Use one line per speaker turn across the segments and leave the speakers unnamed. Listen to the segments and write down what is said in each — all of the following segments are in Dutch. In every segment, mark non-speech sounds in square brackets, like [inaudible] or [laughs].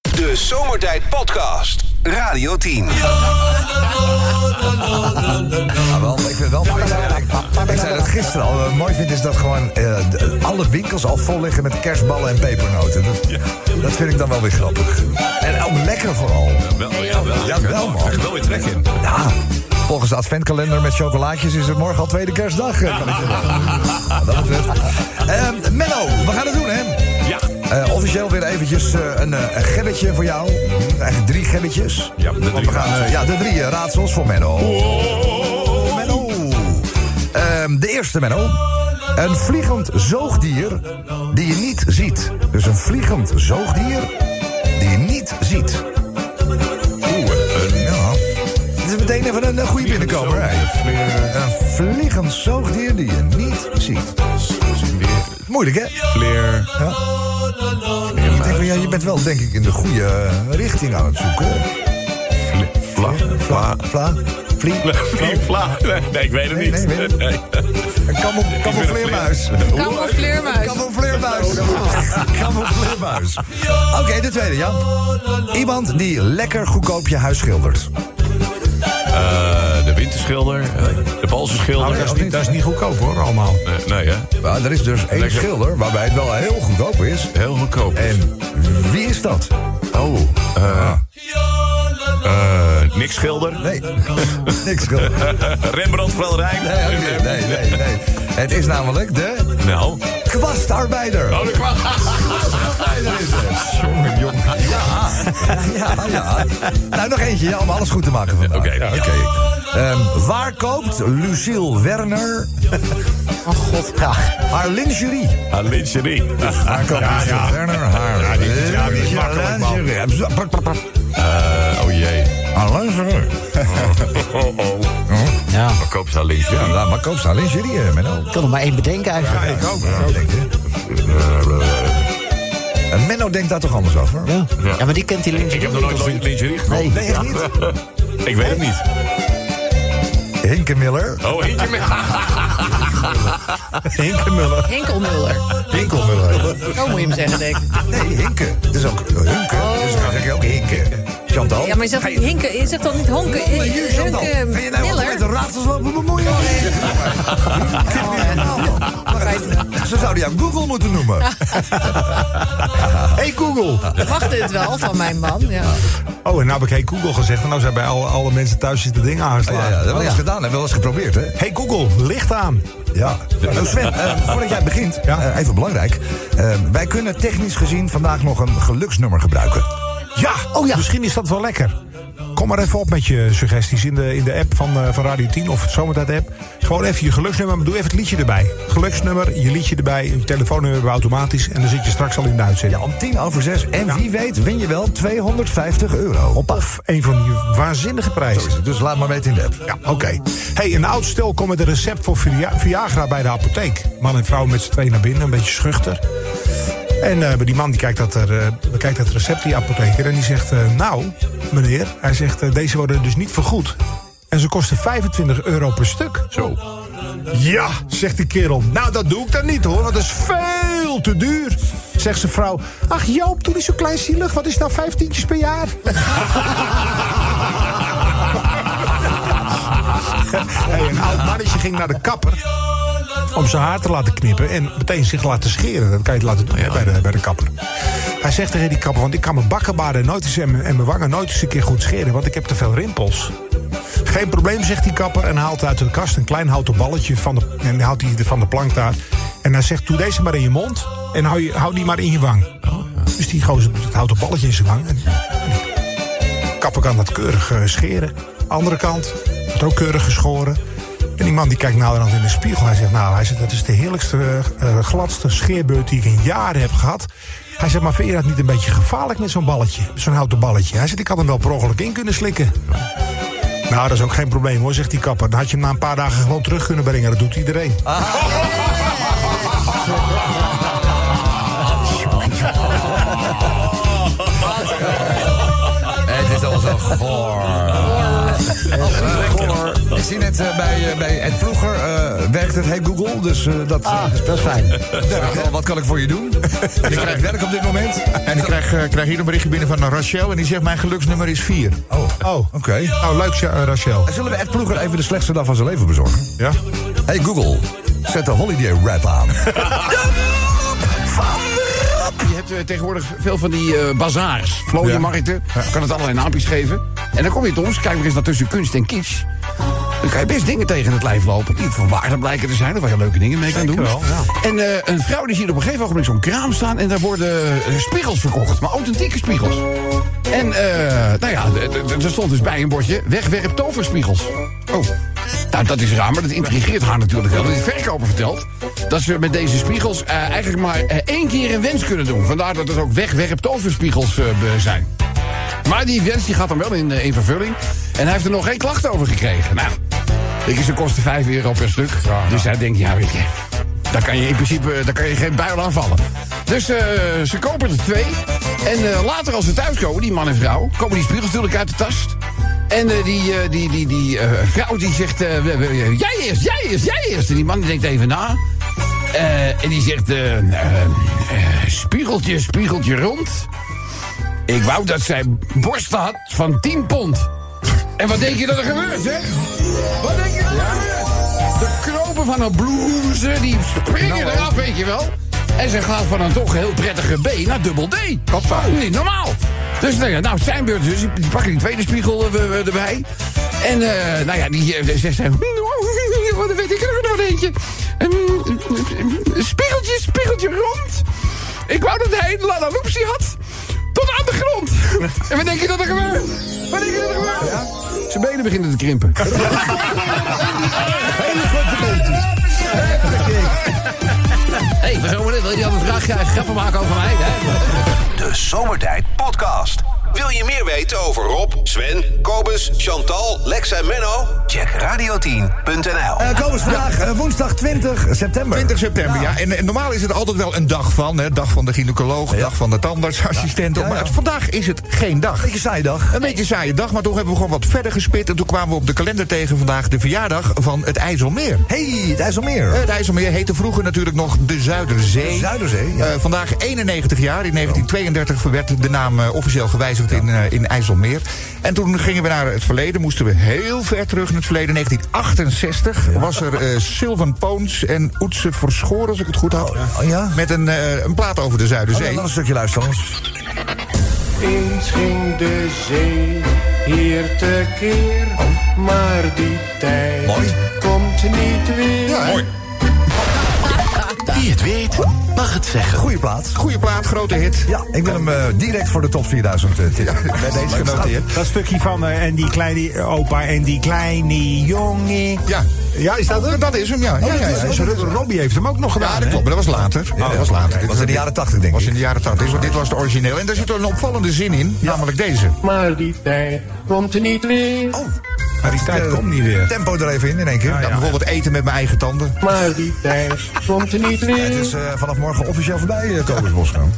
De Zomertijd Podcast. Radio 10.
Ja, wel, ik vind het wel mooi. Ik zei- ik- Ik zei dat gisteren al. Wat ik mooi vind is dat gewoon eh, d- alle winkels al vol liggen met kerstballen en pepernoten. Dat, dat vind ik dan wel weer grappig. En ook lekker vooral.
Wel, ja, wel.
Ja, wel, man.
Krijg er wel weer trek in.
Ja, volgens de adventkalender met chocolaatjes is het morgen al tweede kerstdag. eh, Kan ik je zeggen.
[laughs]
Wat dat betreft. Ehm, Menno, we gaan het doen, hè?
Ja.
Eh, officieel weer eventjes eh, een, eh, een gebbetje voor jou. Eigenlijk drie gebbetjes.
Ja, de drie
Want we gaan, eh, ja, de drie eh, raadsels voor Menno.
Oh.
Menno. Ehm, de eerste, Menno. Een vliegend zoogdier die je niet ziet. Dus een vliegend zoogdier die je niet ziet.
Oeh, een
Ja. Het is meteen even een eh, goede binnenkomer. hè. Een vliegend zoogdier die je niet ziet. Moeilijk, hè?
vleer.
Ja. Ik denk van, ja, je bent wel denk ik in de goede eh, richting aan het zoeken.
Vle- Vla.
Vla, vla, vlie.
Vlie, vla. Nee, ik weet het
Nee,
niet.
nee, weet het
Nee.
Een kammel- camoufleermuis.
Camoufleermuis.
Camoufleermuis. Camoufleermuis. Oké, de tweede, ja. Iemand die lekker goedkoop je huis schildert.
Eh, De winterschilder. eh, De balsenschilder.
Nou, dat is niet- dat is niet
goedkoop hoor, allemaal. Nee, hè?
Maar er is dus één
Lekker.
schilder waarbij het wel heel goedkoop is.
Heel goedkoop.
En wie is dat?
Oh, eh, eh, niks schilder.
Nee, [laughs] niks schilder.
[laughs] Rembrandt van Rijn.
Nee, ook niet. nee, nee, nee. Het is namelijk de
Nou.
kwastarbeider.
Oh, de
[laughs] Jongen, jongen. Ja. ja, ja. Nou, nog eentje, ja, om alles goed te maken vandaag.
Oké. Ja,
Oké. Ehm, waar koopt Lucille Werner
Oh god.
haar lingerie?
Aan lingerie. Eh,
Waar koopt Lucille Werner haar ja, die,
ja, die is makkelijk, man.
Eh, oh jee.
Haar lingerie.
Oh, oh.
Ja.
Waar koopt ze aan lingerie?
Ja, nou, maar koopt ze haar lingerie, eh, Menno?
Ik kan er maar één bedenken eigenlijk.
ik ook. En Eh, Menno denkt daar toch anders over?
Ja. Ja, maar die kent die links.
Ik heb nog nooit lingerie gekocht.
Nee.
Nee, echt niet?
Ik weet het niet.
Hinke Miller.
Oh, eentje met...
Hinke Miller.
Hinkelmuller. Zo moet je hem zeggen, denk ik.
Ah, Nee, Hinke. Het is ook Hunke. Dus dan zeg ik ook Hinke. Chantal?
Ja, maar je zegt
Ga
niet hinken, je zegt toch niet honken?
Oh, maar jullie Chantal,
ehm,
Hunken,
Vind je nou altijd met
Miller?
de raadsels lopen bemoeien? hoor?
[laughs]
Ik vind het niet normaal, man. Maar Ze zouden jou Google moeten noemen.
Hey Google.
Wachtte het wel van mijn man. Ja.
Oh, en nou heb ik Hey Google gezegd. En nou zijn bij alle, alle mensen thuis zitten dingen
Ja, ja,
aangeslagen.
dat hebben we eens gedaan. Hebben we wel eens geprobeerd, hè?
Oh, Hey Google, licht aan.
Ja. Nou, Sven, eh, voordat jij begint, eh, even belangrijk. Eh, wij kunnen technisch gezien vandaag nog een geluksnummer gebruiken.
Ja, oh ja, misschien is dat wel lekker. Kom maar even op met je suggesties in de, in de app van, eh, van Radio 10 of het Zomertijd app. Gewoon even je geluksnummer, maar doe even het liedje erbij. Geluksnummer, je liedje erbij, je telefoonnummer hebben we automatisch. En dan zit je straks al in de
Ja,
uitzending.
om tien over zes. En wie weet win je wel 250 euro. Hoppa.
Of een van die waanzinnige prijzen.
Dus laat maar weten in de app.
Ja, oké. Hey, een oud stel komt met een recept voor Via- Viagra bij de apotheek. Man en vrouw met z'n tweeën naar binnen, een beetje schuchter. En eh, maar die man die kijkt, dat er, eh, bekijkt dat recept, die apotheker. En die zegt, eh, nou meneer, hij zegt, eh, deze worden dus niet vergoed. En ze kosten 25 euro per stuk.
Zo.
Ja, zegt die kerel. Nou, dat doe ik dan niet hoor, want dat is veel te duur. Zegt zijn vrouw. Ach Joop, doe niet zo klein zielig. Wat is nou vijftientjes per jaar? hey, een oud mannetje ging naar de kapper om zijn haar te laten knippen en meteen zich laten scheren. Dat kan je het laten doen hè, bij, de, bij de kapper. Hij zegt tegen die kapper, want ik kan mijn bakkenbaarden nooit eens en, mijn- en mijn wangen nooit eens een keer goed scheren, want ik heb te veel rimpels. Geen probleem, zegt die kapper en haalt uit de kast een klein houten balletje van de, en houdt die van de plank daar. En hij zegt, doe deze maar in je mond en hou, je, hou die maar in je wang. Dus die gozer doet het houten balletje in zijn wang. En, kapper kan dat keurig eh, scheren. Andere kant, wordt ook keurig geschoren. En die man die kijkt naderhand in de spiegel. Hij zegt, nou, hij zegt, dat is de heerlijkste, eh, eh, gladste scheerbeurt die ik in jaren heb gehad. Hij zegt, maar vind je dat niet een beetje gevaarlijk met zo'n balletje? Zo'n houten balletje. Hij zegt, ik had hem wel per ongeluk in kunnen slikken. Nou, dat is ook geen probleem hoor, zegt die kapper. Dan had je hem na een paar dagen gewoon terug kunnen brengen. Dat doet iedereen.
Het is al zo goor. Ik zie net eh, bij, eh, bij Ed Vroeger werkt het Hey Google, dus eh, dat,
Dat is fijn.
Eh, wat kan ik voor je doen? En ik krijg werk op dit moment.
En ik krijg, eh, krijg hier een berichtje binnen van Rachel. En die zegt: Mijn geluksnummer is 4.
Oh,
Oh,
oké.
nou leuk, eh, Rachel.
Zullen we Ed Ploeger even de slechtste dag van zijn leven bezorgen?
Ja?
Hey Google, zet de holiday rap aan.
Je hebt eh, tegenwoordig veel van die eh, bazaars, vlooienmarkten. Kan het allerlei naampjes geven. En dan kom je tot ons, kijk maar eens naar tussen kunst en kitsch. Dan kan je best dingen tegen het lijf lopen die van waarde blijken te zijn... of waar je leuke dingen mee kan doen.
wel, ja.
En eh, een vrouw die ziet op een gegeven ogenblik zo'n kraam staan... en daar worden eh, spiegels verkocht, maar authentieke spiegels. En eh, nou ja, d- d- d- er stond dus bij een bordje... wegwerp toverspiegels. Oh. Nou, dat is raar, maar dat intrigeert haar natuurlijk wel. Dat die verkoper vertelt dat ze met deze spiegels eh, eigenlijk maar eh, één keer een wens kunnen doen. Vandaar dat het ook wegwerp toverspiegels eh, be- zijn. Maar die wens die gaat dan wel in, eh, in vervulling. En hij heeft er nog geen klacht over gekregen. Nou, ik, ze kosten 5 euro per stuk. Dus hij denkt, ja, weet je. Daar kan je in principe eh, daar kan je geen buil aan vallen. Dus eh, ze kopen er twee. En eh, later, als ze thuiskomen, die man en vrouw, komen die spiegels natuurlijk uit de tas. En eh, die, eh, die, die, die eh, vrouw die zegt: eh, we- we- eh, Jij eerst, jij eerst, jij eerst. En die man die denkt even na. Eh, en die zegt: eh, eh, eh, Spiegeltje, spiegeltje rond. Ik wou dat zij borsten had van 10 pond. En wat denk je dat er gebeurt, hè? Wat denk je dat er gebeurt? De knopen van een blouse, die springen eraf, weet je wel. En ze gaat van een toch heel prettige B naar dubbel D. Hoppa. Niet normaal. Dus nou, ja, nou zijn beurt dus, die die pakken die tweede spiegel eh, we- we erbij. En eh, nou [laughs] ja, die eh, zegt zij... Wat weet ik er nog eentje? Ehm, Spiegeltje, spiegeltje rond. Ik wou dat hij een Lala Loopsie had tot aan de grond. En wat denk je dat er gebeurt? Wat denk je dat er gebeurt? Zijn benen beginnen te krimpen. Hé, hey, verzomer, wil je al een vraag eh, grappen maken over mij? Hè?
De Zomertijd Podcast. Wil je meer weten over Rob, Sven, Kobus, Chantal, Lex en Menno? Check radio10.nl.
Eh kom eens vandaag, eh, woensdag 20 september.
20 september, ja. En, en normaal is het altijd wel een dag van. Hè. Dag van de gynaecoloog, dag van de tandartsassistent.
Ja, ja.
Maar het- vandaag is het geen dag.
Beetje saai dag.
Een beetje saaie dag, maar toch hebben we gewoon wat verder gespit. En toen kwamen we op de kalender tegen vandaag de verjaardag van het IJsselmeer.
Hey, het IJsselmeer.
Het IJsselmeer heette vroeger natuurlijk nog de Zuiderzee.
De Zuiderzee, ja.
Eh, vandaag 91 jaar. In 1932 werd de naam eh, officieel gewijzigd in, eh, in IJsselmeer. En toen gingen we naar het verleden. Moesten we heel ver terug in het verleden. 1968 was er eh, Sylvan Poons en Oetse Verschoor, als ik het goed had.
Oh, ja?
Met een, eh, een plaat over de
Oh, ja,
Zuiderzee.
laat een stukje luisteren. jongens.
Eens ging de zee hier te keer,
Oh.
maar die tijd
Mooi.
komt niet weer.
Wie het weet, mag het zeggen.
Goeie plaats.
Goeie plaat, grote hit.
Ja, ik wil hem eh, direct voor de top 4000 eh, [laughs] tippen.
Bij deze genoteerd.
Dat stukje van eh, en die kleine opa en die kleine jongen.
Ja. Oh,
Ja, is dat hem?
Dat is hem, ja. ja, ja, ja.
Dus Robbie heeft hem ook nog gedaan.
Ja, dat
hè?
klopt, maar dat was later. Ja, dat was later. Dit
was in de jaren 80, denk
was
ik.
in de jaren 80. Dus dit was het origineel. En daar zit een opvallende zin in, namelijk deze.
Maar die tijd komt niet weer,
Oh,
Maar die tijd
eh,
komt niet weer.
Tempo er even in in één keer.
Ja,
Nou,
bijvoorbeeld eten met mijn eigen tanden.
maar die tijd komt
Het
niet weer.
is eh, vanaf morgen officieel voorbij, eh Kobus
[laughs]
Boskamp.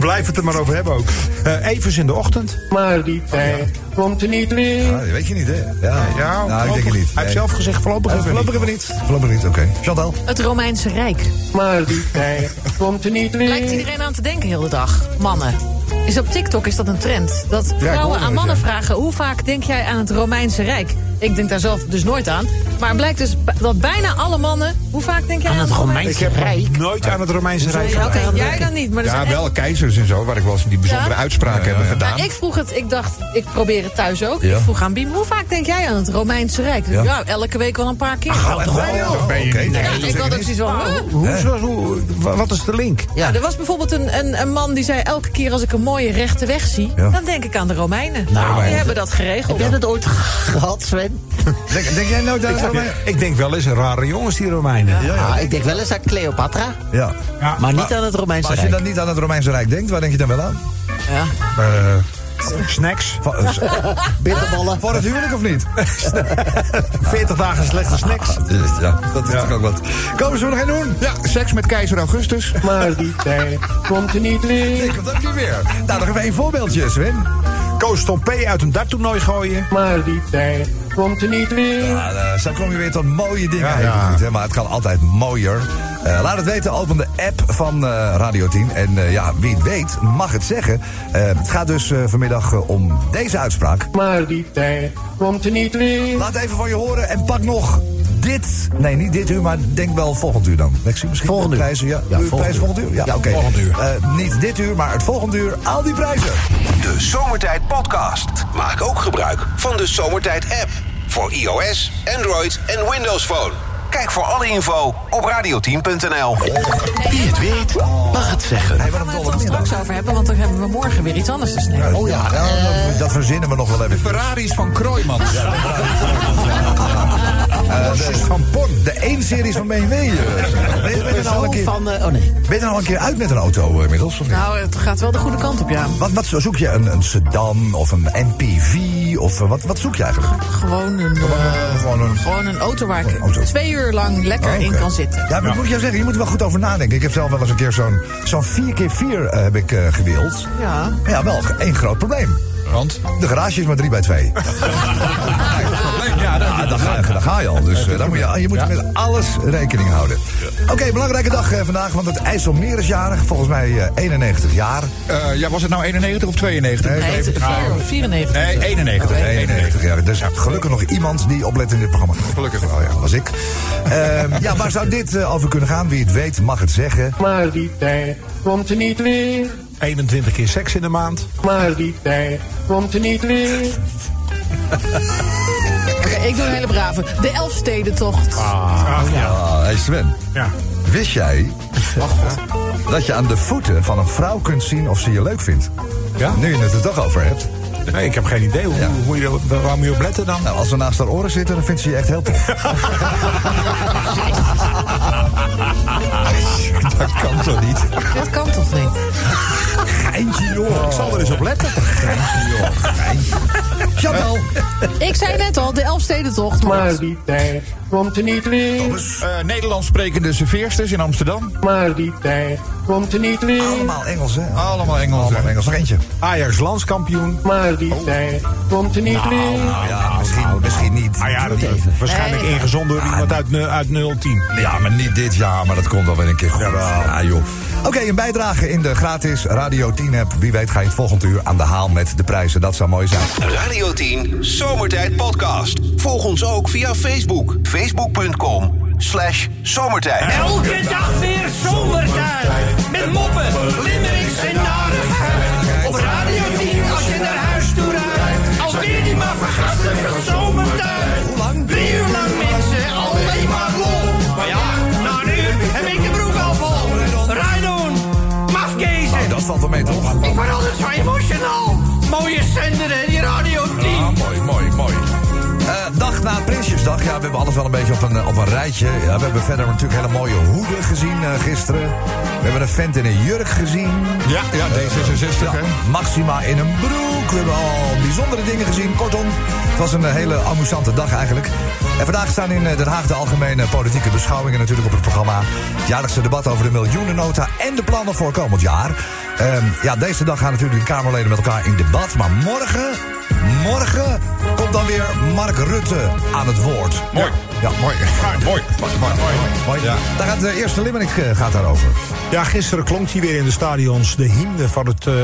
Blijf het er maar over hebben ook. Eh Evers in de ochtend.
Maar die tijd komt niet weer.
Ja, dat Ah, weet je niet, hè? Ja, nou, ik denk het
voorlopig-
niet.
Hij heeft
Nee.
zelf gezegd voorlopig
Eh,
even
Voorlopig
niet.
hebben we niet. Voorlopig niet, oké. Chantal?
Het Romeinse Rijk.
Maar die tijd komt niet
Lijkt
weer.
iedereen aan te denken heel de dag. Mannen. Is op TikTok is dat een trend. Dat vrouwen
hoorde
aan
het,
mannen
ja.
vragen... hoe vaak denk jij aan het Romeinse Rijk? Ik denk daar zelf dus nooit aan. Maar het blijkt dus b- dat bijna alle mannen... hoe vaak denk jij aan het Romeinse
Ik heb nog nooit aan het Romeinse Rijk
Rijk?
gedaan.
Oké, jij dan niet. Maar er zijn
Ja,
echt-
wel keizers en zo, waar ik wel eens die bijzondere
Ja.
uitspraken hebben gedaan.
Nou, ik vroeg het, ik dacht, ik probeer het thuis ook.
Ja.
Ik vroeg aan Biem, hoe vaak denk jij aan het Romeinse Rijk? Ja, elke week wel een paar keer.
Oké.
ja, ik had ook zoiets van, huh?
Hoe, zo- hoe, wa- wat is de link?
Ja, er was bijvoorbeeld een, een, een man die zei... elke keer als ik een mooie rechte weg zie...
Ja. Nou,
dan denk ik aan de Romeinen. Nou, die hebben dat geregeld.
Heb jij dat ooit gehad, Sven?
Denk, denk jij nou nooit aan het Romein?
Ik denk wel eens een rare jongens, die Romeinen.
Ah, ik denk wel eens aan Cleopatra,
Ja.
Ja,
maar niet aan het Romeinse
Maar als je
Rijk.
dan niet aan het Romeinse Rijk denkt, waar denk je dan wel aan?
Ja.
Snacks.
Van- eh,
Ah,
Bitterballen.
Voor het huwelijk of niet? [laughs]
40 dagen slechte snacks.
Ah, Ja, dat is toch ook wat. Komen ze we nog geen doen?
Ja, seks met keizer Augustus.
Maar die tijd komt niet weer.
Ik dat niet meer. Nou, nog even één voorbeeldje, Sven.
Koos Tompé uit een darttoernooi gooien.
maar die tijd komt er niet weer.
Ja, eh, zo kom je weer tot mooie dingen.
Ja,
even
ja.
goed, hè, maar het kan altijd mooier. Eh, laat het weten, open de app van eh, Radio 10. En eh, ja, wie het weet, mag het zeggen. Eh, het gaat dus eh, vanmiddag eh, om deze uitspraak.
maar die tijd komt er niet weer.
Laat even van je horen en pak nog dit. Nee, niet dit uur, maar denk wel volgend uur dan. Lexie, misschien
Volgend
de
uur.
prijzen. Ja,
Ja,
de
volgend
prijs
uur.
volgend uur. Ja,
Ja,
oké.
volgend uur.
Eh, niet dit uur, maar het volgende uur. Al die prijzen.
De Zomertijd Podcast. Maak ook gebruik van de Zomertijd app. Voor iOS, Android en Windows Phone. Kijk voor alle info op radio10.nl.
Wie het weet, mag het zeggen.
Hey,
Daar
wat een
gaan we
dolle
het wel
middag.
straks over hebben, want dan hebben we morgen weer iets anders te snijden.
Oh ja, nou, dat- dat verzinnen we nog wel even.
Ferraris van Kroijmans.
Eh, de, van Pon, de 1-series van BMW. eh. Ben je- ben je er nou al een keer-
Van, eh, oh nee.
ben je er al een keer uit met een auto eh, inmiddels? Of niet?
Nou, het gaat wel de goede kant op, ja.
Wat, wat zoek je? Een, een sedan of een MPV? Of eh, wat, wat zoek je eigenlijk?
Gewoon een, eh,
Gewoon een...
gewoon een auto waar ik
Een auto.
twee uur lang lekker
Oh, oké.
in kan zitten.
Ja, maar ik moet jou zeggen, je moet er wel goed over nadenken. Ik heb zelf wel eens een keer zo'n zo'n 4x4 eh, heb ik eh, gewild.
Ja.
Maar Ja, wel één groot probleem.
Want?
De garage is maar 3 bij 2. [laughs]
Ja,
Ah, daar ga, je- daar ga je al. Dus eh, daar moet je, je moet met alles rekening houden. Oké, belangrijke dag eh, vandaag, want het IJsselmeer is jarig. Volgens mij eh, 91 jaar.
Eh, ja, was het nou 91 of 92?
Nee,
Nee, het- vier- 94.
Nee, 91.
Oh,
91 jaar. Dus gelukkig nog iemand die oplet in dit programma. Gelukkig wel, ja. was ik. Ehm, ja, waar zou dit eh, over kunnen gaan? Wie het weet mag het zeggen.
maar die tijd komt er niet weer.
21 keer seks in de maand.
maar die tijd komt er niet weer.
Oké, ik doe een hele brave. De Elfstedentocht.
Ach, ja.
Ah, hey Sven,
ja.
wist jij dat je aan de voeten van een vrouw kunt zien of ze je leuk vindt?
Ja?
Nu je het er toch over hebt.
Nee, ik heb geen idee. Hoe,
Ja.
hoe moet je, dat- waar, waar moet je op letten dan?
Nou, als ze naast haar oren zitten, dan vindt ze je echt heel tof. dat kan toch niet?
Dit kan toch niet?
[laughs] Geintje, joh. Ik zal er eens op [laughs] letten. Eh. Chantal.
Ik zei net al, de Elfstedentocht.
maar die tijd komt er niet weer.
Eh, Nederlands sprekende serveersters in Amsterdam.
maar die tijd komt er niet weer.
Allemaal Engels, hè?
Allemaal Engels.
Allemaal Engels. Nog eentje.
Ajax landskampioen.
maar die tijd komt er niet weer.
Oh. Nou ja, misschien, misschien niet.
Ah ja, dat, waarschijnlijk
Nee.
ingezonden door iemand uit, nul- uit 010.
Ja, maar niet dit jaar, maar dat komt wel weer een keer goed. Ja, joh. Oké, een bijdrage in de gratis Radio 10 app. Wie weet ga je het volgend uur aan de haal met de prijzen. Dat zou mooi zijn.
Radio 10 Zomertijd Podcast. Volg ons ook via Facebook. Facebook.com slash zomertijd.
Elke dag weer zomertijd. Met moppen, limericks en narigheid. Op Radio 10 als je naar huis toe rijdt. Alweer die maar vergasselijke zomertijd. Hoe lang? Drie uur lang mensen, alleen maar lol. Maar ja, na een uur heb ik de broek al vol. Rijdoen, mafkezen.
Dat valt wel mee, toch?
Ik word altijd zo emotional. Mooie zender hè, die Radio 10.
Ah, mooi, mooi, mooi. Eh, dag na Prinsjesdag. Ja, we hebben alles wel een beetje op een, eh, op een rijtje. Ja, we hebben verder natuurlijk hele mooie hoeden gezien eh, gisteren. We hebben een vent in een jurk gezien.
Ja, ja, D66.
Ja,
hè.
Maxima in een broek. We hebben al bijzondere dingen gezien. Kortom, het was een eh, hele amusante dag eigenlijk. En vandaag staan in eh, Den Haag de algemene politieke beschouwingen natuurlijk op het programma. Het jaarlijkse debat over de miljoenennota en de plannen voor komend jaar. Ehm, ja, deze dag gaan natuurlijk de Kamerleden met elkaar in debat. Maar morgen, morgen komt dan weer Mark Rutte aan het woord.
Mooi.
Ja, mooi.
Mooi. Mooi.
mooi.
Ja.
Daar gaat de eerste limerick eh, gaat daarover.
Ja, gisteren klonk hij weer in de stadions de hymne van het eh,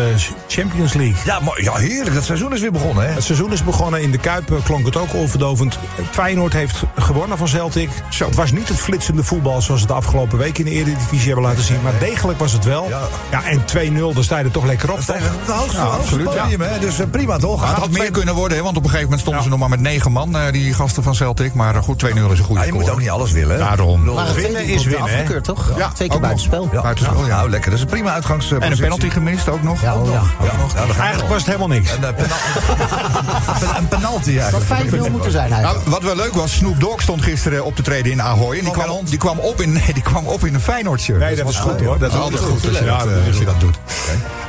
Champions League.
Ja, mooi. ja, heerlijk. Dat seizoen is weer begonnen, hè?
Het seizoen is begonnen, in de Kuip eh, klonk het ook oorverdovend. Feyenoord heeft gewonnen van Celtic. Het was niet het flitsende voetbal zoals we het de afgelopen week in de Eredivisie hebben laten zien. Maar degelijk was het wel.
Ja.
Ja, en 2-0, dan sta je er toch lekker op.
Dat is
toch?
het hoogste,
Ja,
hoogste
absoluut, ja.
podium, hè? Dus eh, prima toch?
Het
Gaat
had
het
meer
meer-
kunnen worden, hè, want op een gegeven moment stonden ze nog maar met negen man, eh, die gasten van Celtic. Maar eh, goed, 2-0 is een goede
Ja, Ah, je moet
score.
ook niet alles willen. hè?
Daarom.
Ik bedoel,
Maar het
Winnen
tweede doel
is
komt
winnen, hè?
afgekeurd, toch? Twee
Ja, ook
keer
nog.
buitenspel.
ja,
Buitenspel, ja.
Nou, lekker. Dat is een prima uitgangspositie.
En een penalty gemist ook nog.
Ja, oh, ja.
Ja, nou, dan gaan we
Eigenlijk was het helemaal niks.
Een, eh,
[laughs]
penal- een penalty
Dat
eigenlijk.
5-0 moeten zijn
Nou,
eigenlijk.
wat wel leuk was, Snoop Dogg stond gisteren op te treden in Ahoy. En die
Nog een
kwam,
hond?
die kwam, [laughs] op, in, nee, die kwam op in een Feyenoord shirt.
Nee, dat was goed hoor. Dat
Dat
is
is altijd goed als je
Ja,
dat, eh, als je dat doet.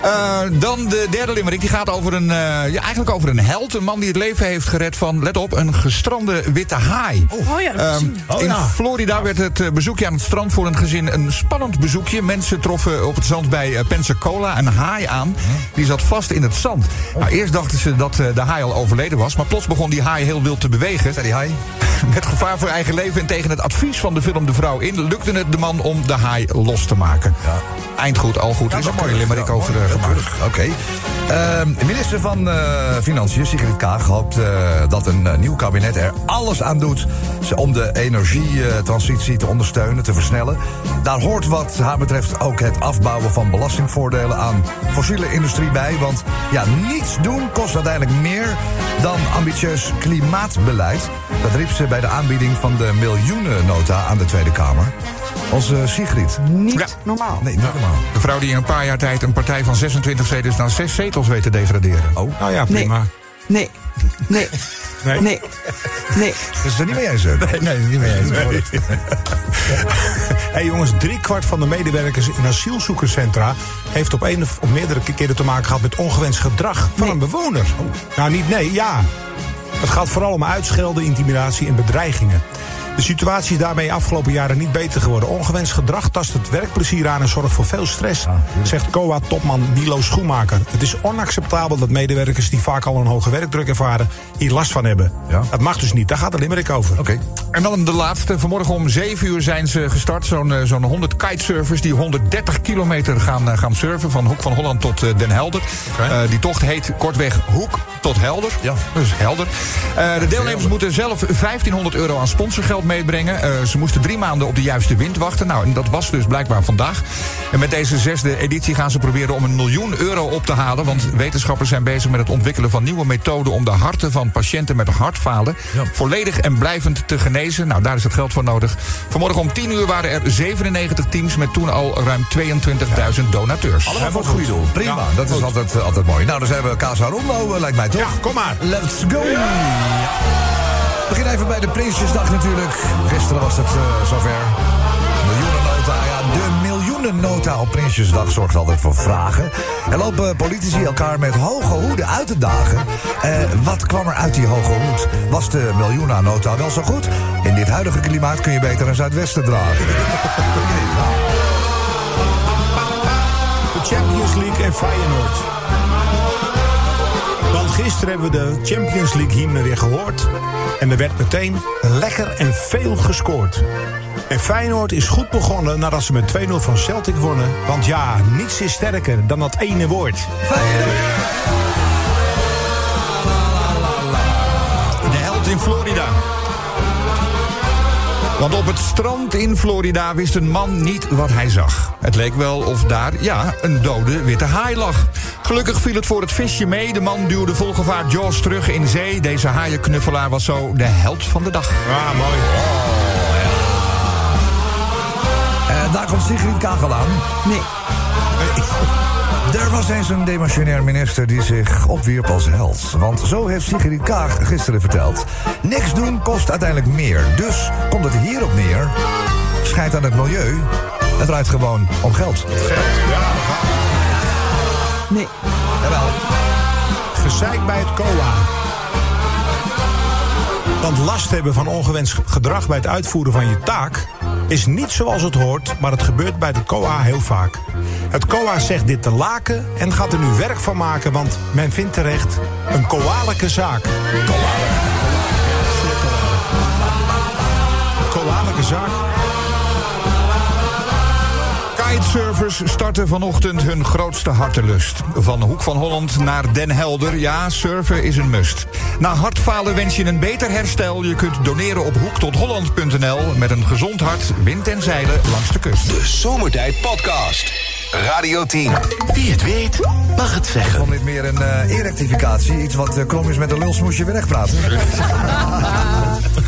Eh, dan de derde limerick. Die gaat over een, eh, ja, eigenlijk over een held. Een man die het leven heeft gered van, let op, een gestrande witte haai.
Oh ja, dat
Ehm,
gezien.
in Florida werd het eh, bezoekje aan het strand voor een gezin een spannend bezoekje. Mensen troffen op het zand bij eh, Pensacola een haai aan. Die zat vast in het zand. Nou, eerst dachten ze dat eh, de haai al overleden was. Maar plots begon die haai heel wild te bewegen. die haai? [laughs] Met gevaar voor eigen leven en tegen het advies van de film De Vrouw in... lukte het de man om de haai los te maken. Eind goed, al goed. is een mooie limerick over eh, gemaakt.
Oké. Ehm, minister van eh, Financiën, Sigrid Kaag, hoopt eh, dat een eh, nieuw kabinet er alles aan doet... ze- om de energietransitie te ondersteunen, te versnellen. Daar hoort wat haar betreft ook het afbouwen van belastingvoordelen aan fossiele industrie bij. Want ja, niets doen kost uiteindelijk meer dan ambitieus klimaatbeleid. Dat riep ze bij de aanbieding van de miljoenennota aan de Tweede Kamer. Onze Sigrid.
Niet
normaal. Nee, niet normaal.
De vrouw die in een paar jaar tijd een partij van 26 zetels naar 6 zetels weet te degraderen.
Oh,
Nou ja, prima.
Nee. Nee.
Nee.
Nee. Nee.
dat is er niet mee eens. hè?
Nee, nee, niet meer. [laughs]
Hé hey jongens, driekwart van de medewerkers in asielzoekerscentra heeft op een of op meerdere keren te maken gehad met ongewenst gedrag van een bewoner.
Oh.
Nou, niet nee, ja. Het gaat vooral om uitschelden, intimidatie en bedreigingen. De situatie is daarmee afgelopen jaren niet beter geworden. Ongewenst gedrag tast het werkplezier aan en zorgt voor veel stress, zegt COA-topman Milo Schoenmaker. Het is onacceptabel dat medewerkers die vaak al een hoge werkdruk ervaren hier last van hebben.
Ja.
Dat mag dus niet, daar gaat de limerick over.
Oké.
En dan de laatste. Vanmorgen om 7 uur zijn ze gestart. Zo'n eh, zo'n 100 kitesurfers die 130 kilometer gaan, eh, gaan surfen. Van Hoek van Holland tot eh, Den Helder. Eh, die tocht heet kortweg Hoek tot Helder.
Ja.
Dus helder. Eh, de deelnemers moeten zelf 1500 euro aan sponsorgeld meebrengen. Eh, ze moesten drie maanden op de juiste wind wachten. Nou, en dat was dus blijkbaar vandaag. En met deze zesde editie gaan ze proberen om een miljoen euro op te halen. Want wetenschappers zijn bezig met het ontwikkelen van nieuwe methoden... om de harten van patiënten met hartfalen
Ja.
volledig en blijvend te genezen. Nou, daar is het geld voor nodig. Vanmorgen om 10 uur waren er 97 teams met toen al ruim 22.000 donateurs.
Allemaal voor het goede doel. Prima, dat is altijd, eh, altijd mooi. Nou, dan zijn we Casa Rondo, eh, lijkt mij toch?
Ja, kom maar.
Let's go! We beginnen even bij de Prinsjesdag natuurlijk. Gisteren was het eh, zover. Miljoenennota, ja, de miljoenennota op Prinsjesdag zorgt altijd voor vragen. Er lopen politici elkaar met hoge hoeden uit te dagen. Eh, wat kwam er uit die hoge hoed? Was de miljoenennota wel zo goed? In dit huidige klimaat kun je beter een Zuidwesten dragen.
De Champions League en Feyenoord. Want gisteren hebben we de Champions League hymne weer gehoord. En er werd meteen lekker en veel gescoord. En Feyenoord is goed begonnen nadat ze met 2-0 van Celtic wonnen. Want ja, niets is sterker dan dat ene woord.
De held in Florida. Want op het strand in Florida wist een man niet wat hij zag. Het leek wel of daar, ja, een dode witte haai lag. Gelukkig viel het voor het visje mee. De man duwde vol gevaar Jaws terug in zee. Deze haaienknuffelaar was zo de held van de dag. Oh,
Ah, mooi.
Eh, daar komt Sigrid Kagel aan.
Nee.
Er was eens een demissionair minister die zich opwierp als held. Want zo heeft Sigrid Kaag gisteren verteld. Niks doen kost uiteindelijk meer. Dus komt het hierop neer. Schijt aan het milieu. Het draait gewoon om geld.
Nee.
Jawel.
Gezeik bij het COA. Want last hebben van ongewenst gedrag bij het uitvoeren van je taak is niet zoals het hoort, maar het gebeurt bij het COA heel vaak. Het COA zegt dit te laken en gaat er nu werk van maken, want men vindt terecht een koalijke zaak. Koalijke zaak.
Kitesurfers starten vanochtend hun grootste hartelust. Van Hoek van Holland naar Den Helder. Ja, surfen is een must. Na hartfalen wens je een beter herstel. Je kunt doneren op hoektotholland.nl. Met een gezond hart, wind en zeilen langs de kust.
De Zomertijd Podcast. Radio 10.
Wie het weet, mag het
Ik
zeggen.
kwam dit
[laughs]
meer een eh, erectificatie. Iets wat eh, krom is met een lulsmoesje weer wegpraten.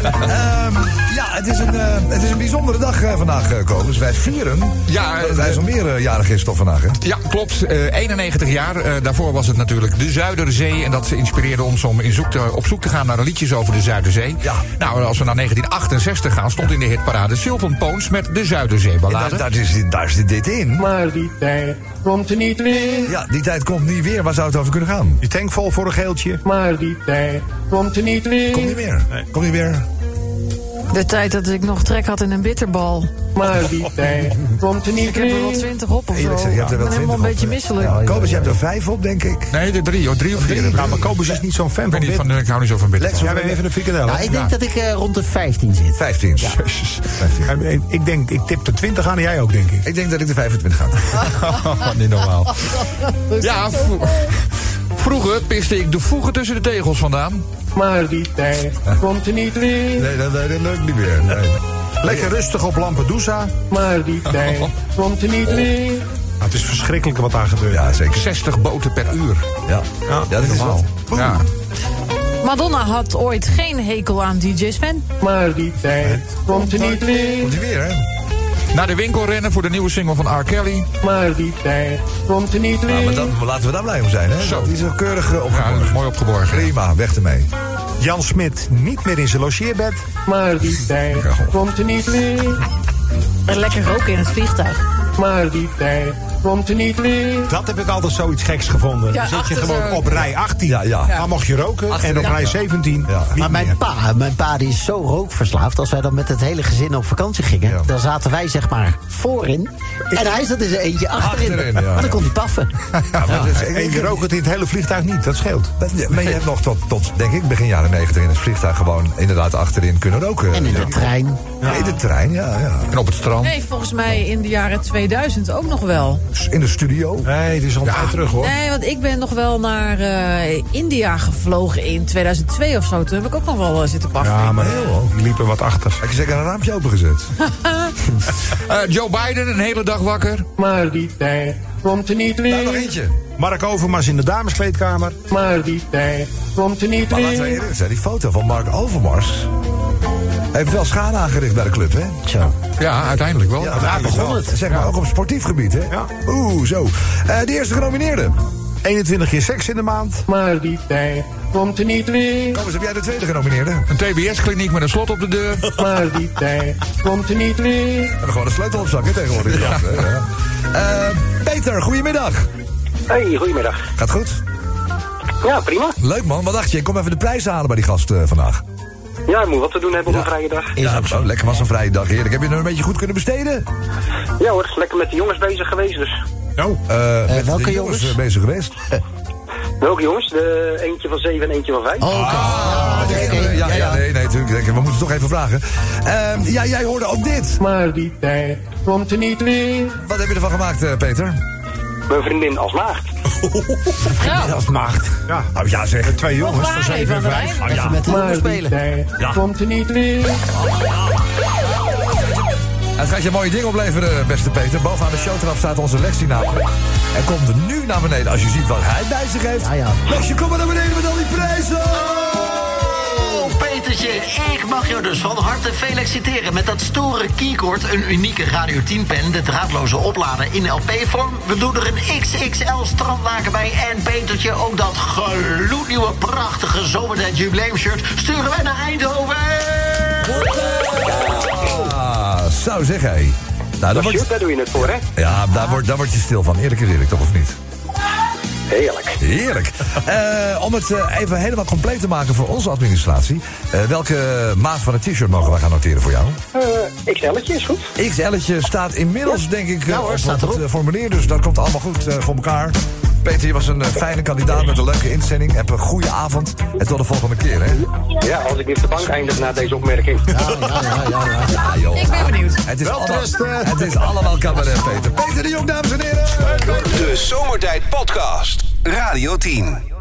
Ehm, ja, het is, een, eh, het is een bijzondere dag eh, vandaag, eh, Kobus. Wij vieren ja, dat het IJsselmeer eh, jarig is toch vandaag, hè?
Ja, klopt. Eh, 91 jaar. Eh, daarvoor was het natuurlijk de Zuiderzee. En dat inspireerde ons om in zoek te- op zoek te gaan naar liedjes over de Zuiderzee. Nou, als we naar 1968 gaan, stond in de hitparade Sylvan Poons met de Zuiderzeeballade.
Daar, is, daar zit dit in.
Maar die tijd komt er niet weer.
Ja, die tijd komt niet weer. Waar zou het over kunnen gaan?
Die tank vol voor een geeltje.
Maar die tijd komt er niet weer.
Komt niet meer. Komt niet meer.
De tijd dat ik nog trek had in een bitterbal.
Maar die tijd komt er
Ik
niet
heb er
weer.
wel twintig op of zo.
Eerlijk gezegd, je hebt er
ik
wel
ben
20
helemaal een
op,
beetje
eh.
misselijk.
Ja, Kobus, je hebt er vijf op, denk ik.
Nee, de drie, hoor. drie of vier.
Nou, maar Kobus is niet zo'n fan
Ik ben
van
niet
dit.
van, ik hou niet zo van
Lex,
binnen.
jij bent even een frikandel.
Ja, ik denk dat ik eh, rond de 15 zit.
15.
Ik denk, ik tip de 20 aan en jij ook, denk ik.
Ik denk dat ik de 25
[laughs]
ga.
Oh, niet normaal. Ja, vro- vroeger piste ik de voegen tussen de tegels vandaan.
Maar die tijd komt er niet weer.
Nee, dat, dat, dat lukt niet meer. Nee.
Lekker rustig op Lampedusa.
Nou,
Maar die tijd komt er niet weer.
Ah, het is verschrikkelijk wat daar gebeurt.
Ja, zeker.
60 boten per uur.
Ja, ja dat is wel.
Ja.
Madonna had ooit geen hekel aan DJ Sven.
Maar die tijd komt er niet weer.
Komt hij weer, hè?
Naar de winkel rennen voor de nieuwe single van R. Kelly.
Maar die tijd komt er niet
Ja, Nou, maar
weer.
dan, laten we daar blij om zijn, hè?
Zo.
Dat is een keurig eh,
Ja,
opgeborgen.
mooi opgeborgen.
Prima, weg ermee.
Jan Smit niet meer in zijn logeerbed.
Maar die tijd komt er niet weer.
En lekker roken in het vliegtuig.
Maar die tijd komt er niet weer.
Dat heb ik altijd zoiets geks
Ja,
gevonden. Dan zit je
achter
gewoon
zo'n-
op rij 18.
Ja, ja.
Dan mocht je roken.
Achter
en op
de-
rij 17.
Ja.
niet
Maar mijn
meer.
pa, mijn pa die is zo rookverslaafd. Als wij dan met het hele gezin op vakantie gingen,
Ja.
dan zaten wij zeg maar voorin. En hij zat in zijn eentje achterin.
Achterin, ja,
Maar
ja.
dan kon hij paffen.
Ja, maar dat is- ik
En
denk-
je rookt het in het hele vliegtuig niet. Dat scheelt.
dat- Maar je hebt nog tot, tot, denk ik, begin jaren 90 in het vliegtuig gewoon inderdaad achterin kunnen roken.
En in
Ja.
de trein.
Ja, In de trein, ja, ja.
En op het strand.
Nee, volgens mij in de jaren 2000 ook nog wel.
Dus In de studio.
Nee, dit is al een tijd terug hoor.
Nee, want ik ben nog wel naar eh, India gevlogen in 2002 of zo. Toen heb ik ook nog wel eh, zitten paffen.
Ja, maar
Heel hoor.
die liepen wat achter.
Had je zeker een raampje opengezet?
Eh, Joe Biden een hele dag wakker.
Maar die tijd komt er niet
Nou, nog
weer.
eentje.
Mark Overmars in de dameskleedkamer.
Maar die tijd komt er niet
Maar laten we
weer.
eerlijk zijn, die foto van Mark Overmars... heeft wel schade aangericht bij de club, hè?
Zo.
Ja, uiteindelijk wel.
Ja, daar
begon het.
Zeg maar, ook op sportief gebied, hè?
Ja.
Oeh, zo. Eh, de eerste genomineerde.
21 keer seks in de maand.
Maar die tijd komt er niet weer.
Thomas, heb jij de tweede genomineerde? We
Een TBS-kliniek met een slot op de
[laughs]
deur.
Maar die tijd komt er niet weer.
hebben gewoon een sleutel op zak, hè, tegenwoordig. Ja. Ja. Eh, Peter, goedemiddag.
Hey, goedemiddag.
Gaat goed?
Ja, prima.
Leuk, man. Wat dacht je? Ik kom even de prijzen halen bij die gast eh, vandaag.
Ja, ik moet wat te doen hebben op een vrije dag.
ja, zo. Lekker was een vrije dag, heerlijk. Heb je het een beetje goed kunnen besteden?
Ja hoor, lekker met de jongens bezig geweest dus.
Nou,
welke jongens?
eh, bezig geweest.
Welke jongens? De eentje van 7 en eentje van 5.
Oh,
Ah, de kinderen. Ja, ja, nee, nee, natuurlijk. Denk ik, We moeten toch even vragen. Eh, ja, jij hoorde ook dit.
Maar die tijd komt er niet weer.
Wat heb je ervan gemaakt, eh, Peter?
Mijn vriendin als maagd.
Vrouw,
is maagd. Ja. Nou, ja, zeg. Oh,
Twee jongens
waar
van
even
7
aan
en
de
5.
lijn.
even met de jongens
Maar
spelen.
die tijd komt er niet weer.
Het gaat je mooie ding opleveren, beste Peter. Bovenaan de showtrap staat onze Lexi namelijk. En komt nu naar beneden als je ziet wat hij bij zich heeft.
Ja, ja.
Lexi, kom maar naar beneden met al die prijzen!
Oh, Petertje, ik mag jou dus van harte feliciteren met dat stoere keycord, een unieke Radio 10-pen, de draadloze oplader in LP-vorm. We doen er een XXL strandlaken bij en Petertje, ook dat gloednieuwe, prachtige zomertijd jubileumshirt sturen wij naar Eindhoven.
Ah, zo zeg hij. Nou, daar
Shoot,
wordt,
daar doe je het voor, hè?
ja, daar, wordt, daar word je stil van. Eerlijk is eerlijk, toch of niet?
Heerlijk.
Heerlijk. [laughs] Eh, om het eh, even helemaal compleet te maken voor onze administratie. eh, welke maat van het t-shirt mogen wij gaan noteren voor jou?
Eh,
Ik XL'tje is goed.
XL'tje staat inmiddels, denk ik, eh,
Ja hoor,
op,
staat
op het
erop.
eh, formulier. Dus dat komt allemaal goed eh, voor elkaar. Peter, je was een eh, fijne kandidaat met een leuke inzending. Heb een goede avond en tot de volgende keer, hè?
Ja, als ik niet op de bank eindig na deze opmerking.
Ja, joh.
ik ben benieuwd.
Het is, allemaal,
eh.
het is allemaal cabaret, Peter. Peter de Jong, dames en heren.
De Zomertijd Podcast. Radio 10.